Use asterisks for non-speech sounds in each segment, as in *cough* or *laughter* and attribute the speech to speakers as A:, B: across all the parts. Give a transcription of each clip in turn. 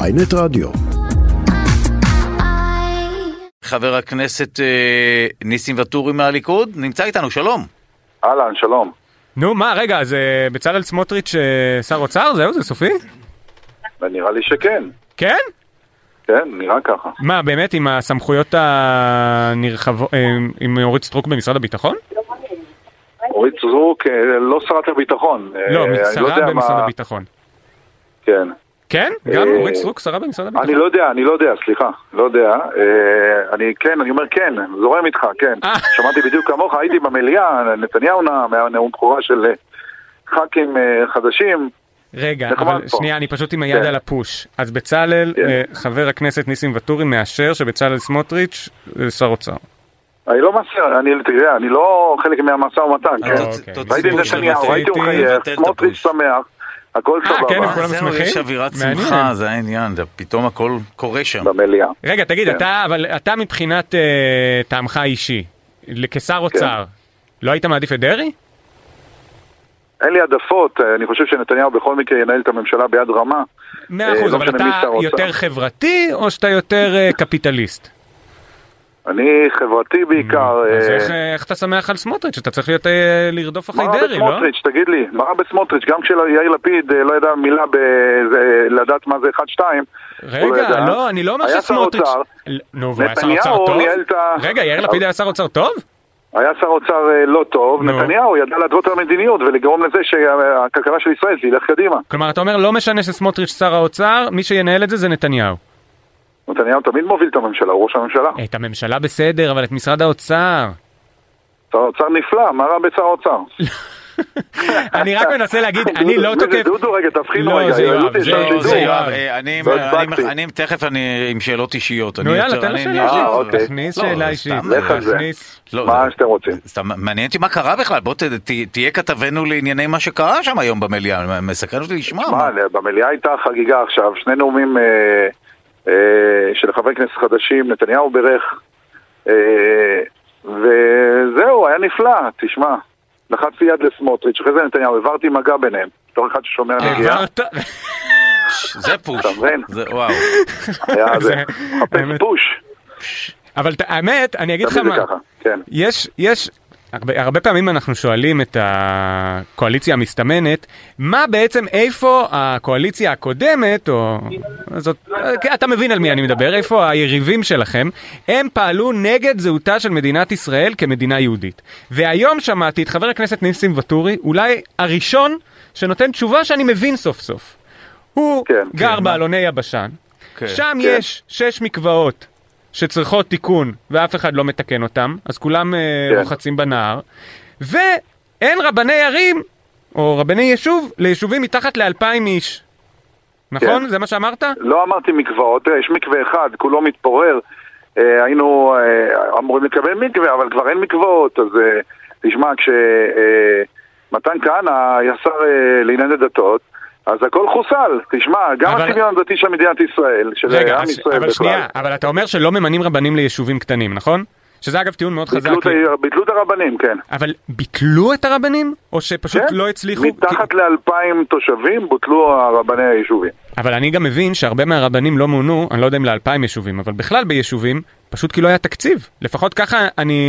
A: ויינט רדיו.
B: חבר הכנסת אה, ניסים ואטורי מהליכוד נמצא איתנו, שלום.
C: אהלן, שלום.
D: נו, מה, רגע, אז אה, בצלאל סמוטריץ' אה, שר אוצר? זהו, זה סופי?
C: נראה לי שכן.
D: כן?
C: כן, נראה ככה.
D: מה, באמת, עם הסמכויות הנרחבות, אה, עם אורית סטרוק במשרד הביטחון?
C: אה, אורית סטרוק, אה, לא שרת הביטחון. אה,
D: לא,
C: אני
D: שרה
C: יודע
D: במשרד
C: מה-
D: הביטחון.
C: כן.
D: כן? גם
C: אה,
D: אורית סטרוק שרה במשרד
C: אני
D: הביטחון.
C: לא יודע, אני לא יודע, סליחה. לא יודע. אה, אני כן, אני אומר כן, זורם איתך, כן.
D: אה.
C: שמעתי בדיוק כמוך, הייתי במליאה, נתניהו נאם, היה נאום בכורה של אה, ח"כים אה, חדשים.
D: רגע,
C: נחמד
D: אבל
C: פה.
D: שנייה, אני פשוט עם היד
C: כן.
D: על הפוש. אז בצלאל,
C: כן.
D: אה, חבר הכנסת ניסים ואטורי מאשר שבצלאל סמוטריץ' אה, שר אוצר.
C: אני לא מסר, אני, תראה, אני לא חלק מהמשא ומתן,
B: אה,
C: כן?
B: תוצ-
D: אוקיי.
B: תוציא
C: ראיתי את
B: סיפור של
C: נתניהו,
B: רפי
C: ראיתי הוא
B: איטי,
C: מחייך,
B: נבטל את
C: סמוטריץ'
B: הפוש.
C: שמח, הכל
D: אה, כן,
C: סבבה
D: כולם
B: זהו,
D: שמחים?
B: יש אווירת
D: מעניין.
B: שמחה, זה העניין, זה- פתאום הכל קורה שם.
C: במליאה.
D: רגע, תגיד,
C: כן.
D: אתה, אבל אתה מבחינת אה, טעמך האישי, ל-
C: כן.
D: כשר אוצר, לא היית מעדיף את דרעי?
C: אין לי העדפות, אה, אני חושב שנתניהו בכל מקרה ינהל את הממשלה ביד רמה.
D: מאה
C: אה,
D: אחוז,
C: לא
D: אבל
C: משנה מי
D: אתה
C: שר אוצר.
D: יותר חברתי או שאתה יותר אה, קפיטליסט?
C: אני חברתי בעיקר.
D: אז
C: אה,
D: איך, אה, איך אתה שמח על סמוטריץ'? אתה צריך להיות אה, לרדוף אחרי
C: מה רע
D: דרעי, לא?
C: בסמוטריץ', תגיד לי, מה רע בסמוטריץ', גם כשיאיר לפיד אה, לא ידע מילה בזה, לדעת מה זה 1-2, הוא לא
D: רגע,
C: ידע.
D: לא, אני לא אומר
C: היה שר
D: שסמוטריץ'...
C: אוצר,
D: ל- נו, והוא היה שר
C: נתניהו
D: אוצר טוב?
C: ניהל את ה-
D: רגע, יאיר לפיד היה שר אוצר טוב?
C: היה שר אוצר אה, לא טוב,
D: נו.
C: נתניהו ידע להתוות על המדיניות ולגרום לזה שהכלכלה של ישראל תלך קדימה.
D: כלומר, אתה אומר, לא משנה שסמוטריץ' שר האוצר, מי שינהל את זה זה נתניהו.
C: נתניהו תמיד מוביל את הממשלה, הוא ראש הממשלה.
D: את הממשלה בסדר, אבל את
C: *laughs*
D: משרד האוצר.
C: שר אוצר נפלא, מה רע בשר אוצר?
D: אני רק מנסה להגיד, אני
C: דודו,
D: לא
C: מי זה?
D: תוקף...
C: דודו, רגע, תבחינו
D: לא,
C: רגע,
D: זה יואב,
C: יעלות יש
D: זה-
C: לנו
B: לא,
D: שידור.
B: זה
C: שידור.
B: יואב, אה, אני-
C: לא
B: אני-
C: הספקתי.
B: אני תכף אני עם שאלות אישיות.
D: נו
B: אני
D: יאללה,
B: יותר-
D: תן לו
B: אני-
D: שאלה
B: אני-
C: אה,
D: אישית.
C: אוקיי.
D: תכניס
B: לא,
D: שאלה
B: סתם,
D: אישית.
C: לך על זה.
D: תכניס.
B: לא,
C: מה
B: זה-
C: שאתם רוצים.
B: סתם, מעניין אותי מה קרה בכלל, בוא ת, ת, תהיה כתבנו לענייני מה שקרה שם היום במליאה, מסקרן אותי לשמוע.
D: אה,
C: מה, במליאה הייתה חגיגה עכשיו, שני נאומים אה, אה, של חברי כנסת חדשים, נתניהו בירך, אה, וזהו, היה נפלא, תשמע. לחצתי יד לסמוטריץ', אחרי זה נתניהו, העברתי מגע ביניהם, בתור אחד ששומע
D: אה,
C: נגיעה,
D: העברת...
B: זה פוש,
C: אתה מבין?
B: זה וואו.
C: היה זה,
D: אה, זה-
C: חפש
D: האמת.
C: פוש,
D: אבל ת- האמת, אני אגיד לך
C: תמיד
D: מה.
C: זה ככה, כן.
D: יש, יש, הרבה, הרבה פעמים אנחנו שואלים את הקואליציה המסתמנת, מה בעצם, איפה הקואליציה הקודמת, או... זאת, אה, אתה מבין על מי אני מדבר, איפה היריבים שלכם, הם פעלו נגד זהותה של מדינת ישראל כמדינה יהודית. והיום שמעתי את חבר הכנסת ניסים ואטורי, אולי הראשון שנותן תשובה שאני מבין סוף סוף. הוא
C: כן,
D: גר
B: כן.
D: באלוני יבשן,
B: כן.
D: שם יש שש מקוואות שצריכות תיקון ואף אחד לא מתקן אותם, אז כולם אה,
C: כן.
D: רוחצים בנהר, ואין רבני ערים או רבני יישוב ליישובים מתחת לאלפיים איש. נכון?
C: כן.
D: זה מה שאמרת?
C: לא אמרתי מקוואות, תראה, יש מקווה אחד, כולו מתפורר. אה, היינו אה, אמורים לקבל מקווה, אבל כבר אין מקוואות, אז אה, תשמע, כשמתן כהנא היה שר אה, לענייני דתות, אז הכל חוסל, תשמע, גם
D: אבל-
C: הצביון הדתי של מדינת ישראל, של אה,
D: רגע,
C: עם
D: אז-
C: ישראל
D: אבל
C: בכלל,
D: שנייה, אבל אתה אומר שלא ממנים רבנים ליישובים קטנים, נכון? שזה אגב טיעון מאוד חזק.
C: ביטלו את
D: לי.
C: ה- ביטלו את הרבנים, כן.
D: אבל ביטלו את הרבנים? או שפשוט
C: כן?
D: לא הצליחו?
C: מתחת
D: כי-
C: לאלפיים תושבים בוטלו הרבני היישובים.
D: אבל אני גם מבין שהרבה מהרבנים לא מונו, אני לא יודע אם לאלפיים יישובים, אבל בכלל ביישובים, פשוט כי לא היה תקציב. לפחות ככה אני...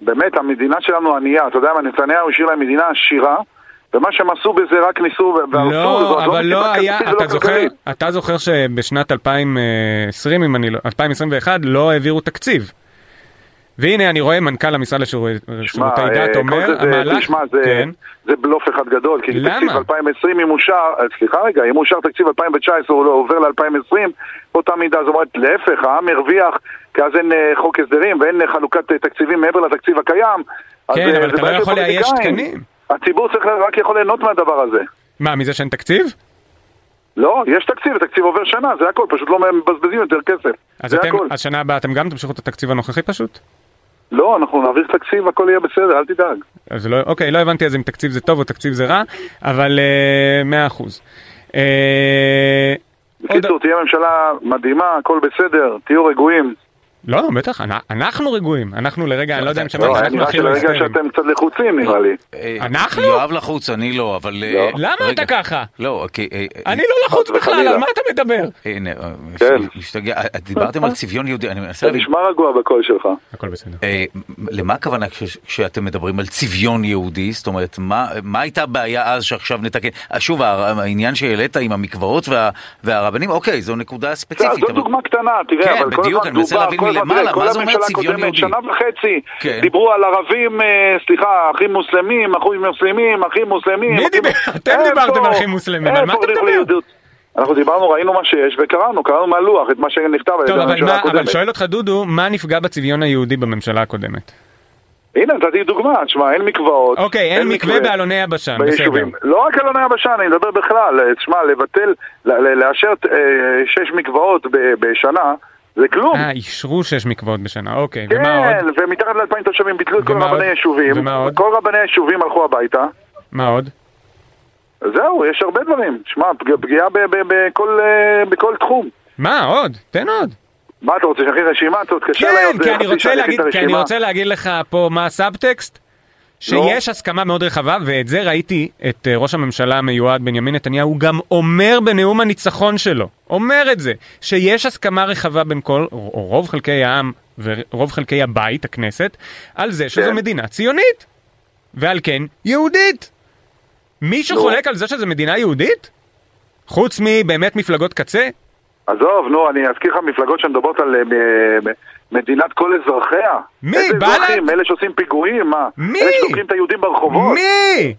C: באמת, המדינה שלנו ענייה, אתה יודע מה, נתניהו השאיר להם מדינה עשירה, ומה שהם עשו בזה רק ניסו ו- והרסו, זאת
D: לא, אבל
C: מדינה
D: לא היה,
C: כלכלית ולא
D: אתה זוכר,
C: כלכלית.
D: אתה זוכר שבשנת 2020, אם אני לא, 2021, לא העבירו תקציב. והנה אני רואה מנכ"ל המשרד
C: שמע,
D: לשירותי
C: אה,
D: דת
C: כל
D: אומר,
C: זה- זה-
D: המהלך,
C: תשמע, זה-
D: כן,
C: זה בלוף אחד גדול, כי
D: למה?
C: תקציב 2020 אם אושר, אה, סליחה רגע, אם אושר תקציב 2019 הוא לא עובר ל-2020, באותה מידה, זאת אומרת, להפך, העם הרוויח, כי אז אין אה, חוק הסדרים ואין אה, חלוקת אה, תקציבים מעבר לתקציב הקיים. אז,
D: כן,
C: אה,
D: אבל
C: זה
D: אתה לא
C: בעיה של
D: יכול לאייש
C: פוליטיקאים.
D: תקנים.
C: הציבור צריך רק יכול ליהנות מהדבר הזה.
D: מה, מזה שאין תקציב?
C: לא, יש תקציב, התקציב עובר שנה, זה הכל, פשוט לא מבזבזים יותר כסף.
D: אז
C: זה
D: אתם,
C: הכל.
D: אז שנה הבאה אתם גם תמשיכו את התקציב הנוכחי פשוט?
C: לא, אנחנו נעביר תקציב, הכל יהיה בסדר, אל תדאג.
D: אז לא, אוקיי, לא הבנתי אז אם תקציב זה טוב או תקציב זה רע, אבל אה, מאה אחוז. אה, עוד-
C: בקיצור, תהיה ממשלה מדהימה, הכל בסדר, תהיו רגועים.
D: לא, בטח, אנ- אנחנו רגועים. אנחנו לרגע, אני לא יודע אם שמעת,
C: לא, היה
D: אנחנו
C: נראה
D: הכי
C: שלרגע
D: היסטריים.
C: שאתם קצת לחוצים נראה לי.
B: אה,
D: אנחנו?
B: יואב לחוץ, אני לא, אבל... אה,
C: לא.
D: למה
B: רגע.
D: אתה ככה?
B: לא, כי... אה, אה,
D: אני לא לחוץ
C: חס
D: בכלל,
C: וחלילה.
D: על מה אתה מדבר?
B: הנה, אה,
C: כן.
B: משתגע. אה, דיברתם על צביון יהודי, אני מנסה
C: אתה
B: להבין.
C: נשמע רגוע בקול שלך.
D: הכל בסדר.
B: אה, למה הכוונה כש- כשאתם מדברים על צביון יהודי? זאת אומרת, מה, מה הייתה הבעיה אז שעכשיו נתקן? אה, שוב, הע- העניין שהעלית עם המקוואות וה, והרבנים, אוקיי, זו נקודה ספציפית.
C: לא, זו דוגמה קטנה,
B: כן,
C: תראה, אבל כל
B: בדיוק,
C: הזמן
B: אני מנסה
C: דובר,
B: להבין
C: כל הזמן,
B: מלמעלה,
C: תראה, כל
B: מה זה אומר
C: הממשלה
B: צביון
C: הקודמת,
B: יהודי?
C: שנה וחצי,
B: כן.
C: דיברו על ערבים, אה, סליחה, אחים מוסלמים, אחים מוסלמים, אחים מוסלמים.
D: מי
C: אחים-
D: דיבר? אתם
C: איפה-
D: דיברתם על אחים מוסלמים, על מה
C: איפה
D: אתה
C: הולך
D: מדבר?
C: ליהדות? אנחנו דיברנו, ראינו מה שיש וקראנו, קראנו מהלוח, את מה שנכתב על
D: טוב,
C: ידי
D: אבל
C: הממשלה
D: מה- אבל
C: הקודמת.
D: שואל אותך דודו, מה נפגע בצביון היהודי בממשלה הקודמת?
C: הנה, נתתי דוגמה, תשמע, אין מקוואות.
D: אוקיי, אין מקווה בעלוני יבשן, בסדר.
C: ביישובים. לא רק אלוני יבשה, אני מדבר בכלל. אה, תשמע, לבטל, ל- ל- לאשר אה, שש מקוואות ב- בשנה, זה כלום.
D: אה, אישרו שש מקוואות בשנה, אוקיי, ומה
C: כן,
D: עוד?
C: ומתחת ל-2,000 תושבים ביטלו את כל
D: ומה
C: רבני
D: עוד?
C: היישובים.
D: ומה עוד?
C: כל רבני היישובים הלכו הביתה.
D: מה עוד?
C: זהו, יש הרבה דברים. שמע, פג- פגיעה ב- ב- בכל, אה, בכל תחום.
D: מה עוד? תן עוד.
C: מה אתה רוצה, שנכין רשימה? אתה עוד קשה
D: כן,
C: להיות,
D: כי
C: אה,
D: אני
C: חצי
D: רוצה
C: שעה להכין
D: להגיד-
C: את
D: כי אני
C: הרשימה.
D: רוצה להגיד לך פה מה הסאבטקסט, שיש הסכמה מאוד רחבה, ואת זה ראיתי את אה, ראש הממשלה המיועד בנימין נתניהו, הוא גם אומר בנאום הניצחון שלו, אומר את זה, שיש הסכמה רחבה בין כל, או רוב חלקי העם ורוב חלקי הבית, הכנסת, על זה שזו
C: כן.
D: מדינה ציונית, ועל כן יהודית. מישהו
C: נו.
D: חולק על זה שזו מדינה יהודית? חוץ מבאמת מפלגות קצה?
C: עזוב, נו, אני אזכיר לך מפלגות שמדברות על אה, מ- מ- מדינת כל אזרחיה.
D: מי?
C: איזה
D: בל"ד?
C: אזרחים? אלה שעושים פיגועים? מה?
D: מי?
C: אלה שתוקפים את היהודים ברחובות?
D: מי?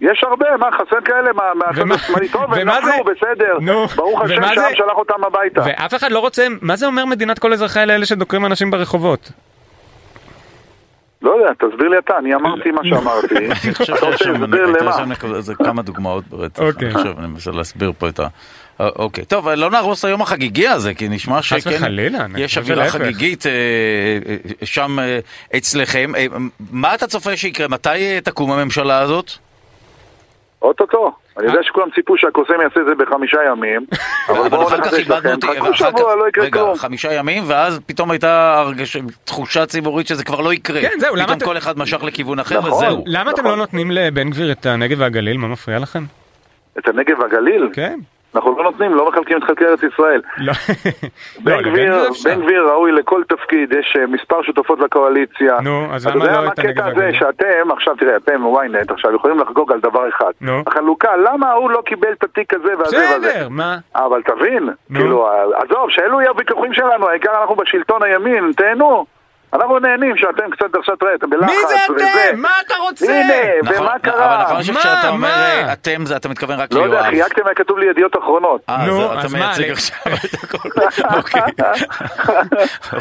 C: יש הרבה, מה, חסר כאלה מה- מהצד
D: ומה-
C: השמאלי? טוב, הם
D: ומה
C: נפלו,
D: זה-
C: בסדר.
D: נו,
C: ברוך השם
D: ומה
C: שהעם
D: זה-
C: שלח אותם הביתה.
D: ואף אחד לא רוצה, מה זה אומר מדינת כל אזרחיה לאלה שדוקרים אנשים ברחובות?
C: לא יודע, תסביר לי אתה, אני אמרתי מה שאמרתי.
B: אני חושב
C: אתה
B: שיש
C: רוצה
B: שם-
C: להסביר
B: הייתה
C: למה?
B: שם נקודה- זה כמה דוגמאות ברצף,
D: אוקיי.
B: אני חושב, אני מנסה להסביר פה את ה... אה, אוקיי, טוב, לא נהרוס את היום החגיגי הזה, כי נשמע שכן,
D: וחלילה, אני
B: יש
D: חושב
B: אווירה
D: שלהפך.
B: חגיגית אה, אה, אה, שם אה, אצלכם. אה, מה אתה צופה שיקרה? מתי אה, תקום הממשלה הזאת?
C: אוטוטו. אני יודע שכולם ציפו שהקוסם יעשה את זה בחמישה ימים, אבל
B: אבל
C: בואו
B: אחר כך
C: נחדש
B: איבדנו
C: לכם.
B: אותי,
C: חכו
B: ואחר כך-
C: שבוע, לא יקרה
B: רגע,
C: כלום.
B: חמישה ימים, ואז פתאום הייתה הרגשה- תחושה ציבורית שזה כבר לא יקרה.
D: כן, זהו, למה
B: פתאום
D: אתה-
B: כל אחד משך לכיוון אחר,
C: נכון.
B: וזהו.
D: למה אתם
C: נכון.
D: לא נותנים לבן גביר את הנגב והגליל? מה מפריע לכם?
C: את הנגב והגליל?
D: כן.
C: אנחנו לא נותנים, לא מחלקים את חלקי ארץ ישראל.
D: לא, לא,
C: בן
D: לבן
C: גביר,
D: גביר אפשר.
C: בן גביר ראוי לכל תפקיד, יש אה, מספר שותפות לקואליציה.
D: נו, אז
C: אתה
D: למה
C: יודע
D: לא
C: מה
D: את הנגב
C: הקטע הזה
D: והגליל?
C: שאתם, עכשיו תראה, אתם וויינט עכשיו יכולים לחגוג על דבר אחד.
D: נו.
C: החלוקה, למה ההוא לא קיבל את התיק הזה והזה והזה?
D: בסדר, מה?
C: אבל תבין,
D: נו.
C: כאילו, עזוב, שאלו יהיו הוויכוחים שלנו, העיקר אנחנו בשלטון הימין, תהנו. אנחנו נהנים שאתם קצת עכשיו, תראה, אתם בלחץ.
D: מי זה
C: וזה.
D: אתם? מה אתה רוצה?
C: הנה,
B: נכון,
C: ומה
B: אבל
C: קרה?
B: נכון שכשאתה
D: מה?
B: אומר
D: מה?
B: אה, אתם, זה- אתה מתכוון רק
C: לא יודע,
B: ליואב.
C: חייגתם, היה כתוב לי ידיעות אחרונות.
B: אה,
D: נו,
B: אז אתה
D: אז מה,
B: מייצג
D: אני-
B: עכשיו את
D: *laughs*
B: הכל. אוקיי.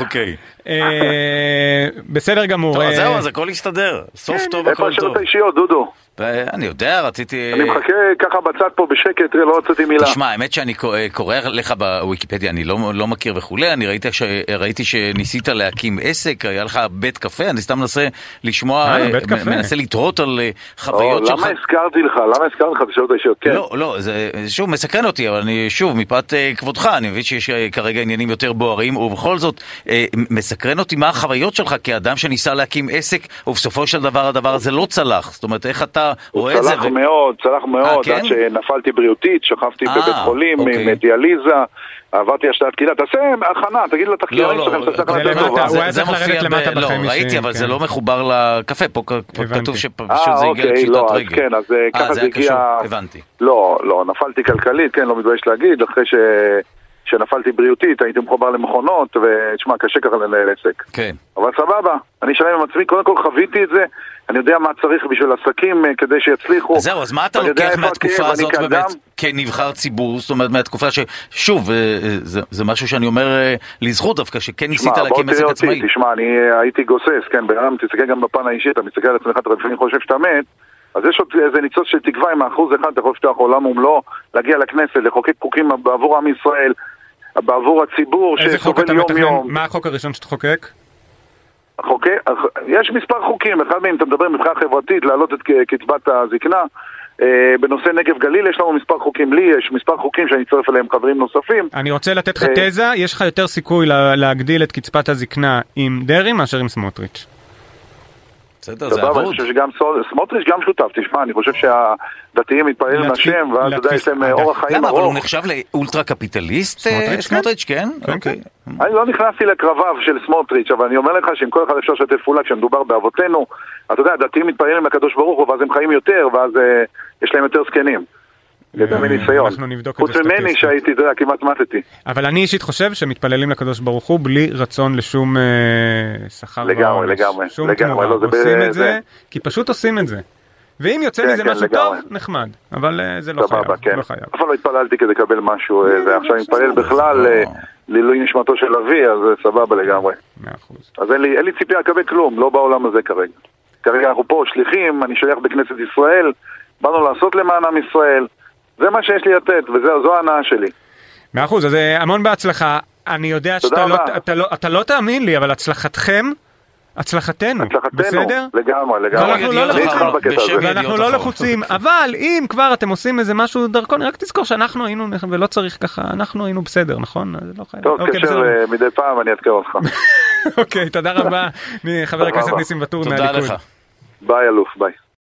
B: אוקיי.
D: אה, בסדר גמור.
B: טוב, אז
D: אה, כן,
B: זהו, אז הכל הסתדר. סוף טוב,
C: איפה
B: הכל
C: השאלות
B: טוב.
C: האישיות, דודו?
B: אה, אני יודע, רציתי...
C: אני מחכה ככה בצד פה בשקט, תראה, לא הוצאתי מילה.
B: תשמע, האמת שאני קורא- קורא לך בוויקיפדיה, אני לא, לא מכיר וכולי, אני ראיתי, ש... ראיתי שניסית להקים עסק, היה לך בית קפה, אני סתם מנסה לשמוע,
D: אה,
B: אה,
D: בית
B: מ-
D: קפה.
B: מנסה לתהות על אה,
C: או,
B: חוויות שלך.
C: למה הזכרתי לך? למה הזכרתי לך את השאלות האישיות? כן.
B: לא, לא, זה שוב מסקרן אותי, אבל אני שוב, מפאת אה, כבודך, אני מבין שיש אה, כרגע עניינים יותר בוערים, ובכל זאת, אה, מסקרן אותי מה החוויות שלך כאדם שניסה להקים עסק, ובסופו של דבר הדבר הזה לא צלח. זאת אומרת, איך אתה רואה את זה? לא,
C: צלח מאוד, צלח מאוד,
B: כן?
C: עד שנפלתי בריאותית, שכבתי
B: אה,
C: בבית חולים
B: אוקיי.
C: עם דיאליזה, עברתי השתלת כליה, תעשה הכנה, תגיד לתחקירים
B: לא,
C: שלכם
B: לא,
C: שאתה צריך
B: זה
C: לתת
D: למטה,
C: טובה.
D: הוא היה
B: זה
D: צריך
B: מופיע
D: לרדת למטה
B: ב- לא,
D: בחיים
B: ראיתי,
D: אישיים,
B: אבל זה
D: כן.
B: לא מחובר לקפה, פה כ- פה
D: הבנתי.
B: כתוב שפשוט
C: אה,
B: זה הגיע
C: אוקיי,
B: לפשיטת
C: לא, אז
B: רגל.
C: כן, אז אה, ככה
B: זה
C: זה
B: היה
C: הגיע...
B: קשור, הבנתי.
C: לא, לא, נפלתי כלכלית, כן, לא מתבייש להגיד, אחרי ש... שנפלתי בריאותית, הייתי מחובר למכונות, ותשמע, קשה ככה לנהל עסק.
B: כן.
C: אבל סבבה, אני שלם עם עצמי, קודם כל חוויתי את זה, אני יודע מה צריך בשביל עסקים אה, כדי שיצליחו.
B: אז זהו, אז מה אתה
C: אני יודע
B: לוקח
C: איפה
B: מהתקופה
C: הכאב,
B: הזאת
C: אני
B: באמת
C: כאדם-
B: כנבחר ציבור, זאת אומרת מהתקופה ש... שוב, אה, אה, זה- זה משהו שאני אומר אה, לזכות דווקא, שכן ניסית
C: תשמע,
B: להקים עסק
C: בוא תראה
B: עצמאי.
C: אותי, תשמע, אני אה, הייתי גוסס, כן, בן אדם, תסתכל גם בפן האישי, אתה מסתכל על עצמך, אתה לפעמים חושב שאתה מת, אז יש עוד איזה ניצוץ של תקווה עם האחוז אחד, אתה יכול לפתוח עולם ומלואו, להגיע לכנסת, לחוקק חוקים בעבור עם ישראל, בעבור הציבור
D: איזה חוק
C: שסובל
D: אתה מתכנן?
C: יום-יום.
D: מה החוק הראשון שתחוקק?
C: חוקי- יש מספר חוקים, אחד מהם, אתה מדבר מבחינה חברתית, להעלות את ק- קצבת הזקנה, אה, בנושא נגב גליל יש לנו מספר חוקים, לי יש מספר חוקים שאני אצטרף אליהם חברים נוספים.
D: אני רוצה לתת לך
C: אה,
D: תזה, יש לך יותר סיכוי לה- להגדיל את קצבת הזקנה עם דרעי מאשר עם סמוטריץ'.
B: בסדר, זה
C: סבבה, אני
B: אבוד.
C: חושב שגם סול- סמוטריץ' גם שותף, תשמע, אני חושב שהדתיים מתפללים
D: להתפיס-
C: לשם, ואז אתה יודע, יש
D: להתפיס-
C: להם אה, אורח חיים
B: למה, אבל הוא
C: ארוך.
B: נחשב לאולטרה קפיטליסט, אה,
D: סמוטריץ', כן.
B: סמוטריץ', כן?
D: כן,
B: אוקיי.
C: אני לא נכנסתי לקרביו של סמוטריץ', אבל אני אומר לך שעם כל אחד אפשר לשתף פעולה כשמדובר באבותינו. אתה יודע, הדתיים מתפללים לקדוש ברוך הוא, ואז הם חיים יותר, ואז אה, יש להם יותר זקנים. זה גם מניסיון.
D: אה, אנחנו נבדוק את
C: חוץ
D: זה
C: ממני
D: סטטיסטית.
C: שהייתי, אתה יודע, כמעט מתתי.
D: אבל אני אישית חושב שמתפללים לקדוש ברוך הוא בלי רצון לשום אה, שכר
C: לגמרי,
D: ועונש.
C: לגמרי,
D: שום
C: לגמרי,
D: תמורה.
C: לא, זה ב-
D: עושים את זה,
C: זה-
D: כי פשוט עושים את זה. ואם יוצא
C: כן,
D: מזה
C: כן,
D: משהו טוב,
C: לגמרי.
D: נחמד. אבל אה, זה לא
C: סבבה, כן.
D: חייב. לא חייב.
C: אף פעם לא התפללתי כדי לקבל משהו, אה,
D: לא, לא,
C: ועכשיו אני
D: בסדר.
C: מתפלל בכלל אה, לעילוי נשמתו של אבי, אז אה, סבבה לגמרי.
D: מאה אחוז.
C: אז אין לי, אין לי ציפייה לקבל כלום, לא בעולם הזה כרגע. כרגע אנחנו פה שליחים, אני שליח בכנסת ישראל, באנו לעשות למען עם ישראל, זה מה שיש לי לתת, וזו ההנאה שלי.
D: מאה אחוז, אז אה, המון בהצלחה. אני יודע
C: תודה
D: שאתה לא,
C: רבה.
D: אתה לא, אתה לא תאמין לי, אבל הצלחתכם, הצלחתנו,
C: הצלחתנו,
D: בסדר?
C: לגמרי, לגמרי.
D: ואנחנו לא
C: אני איתך
D: לחוצים.
C: בקטע הזה.
B: בשם ידיעות
D: ואנחנו לא
B: אחרונות.
C: *laughs*
D: לחוצים, אבל אם כבר אתם עושים איזה משהו דרכון, רק תזכור שאנחנו היינו, ולא צריך ככה, אנחנו היינו בסדר, נכון? אז לא חייב.
C: טוב,
D: אוקיי,
C: תתקשר
D: בסדר.
C: אה, מדי פעם, אני אעדכן אותך.
D: אוקיי, תודה רבה, חבר הכנסת ניסים ואטורי
B: תודה
D: מהליכוד.
B: לך.
C: ביי, אלוף, ביי.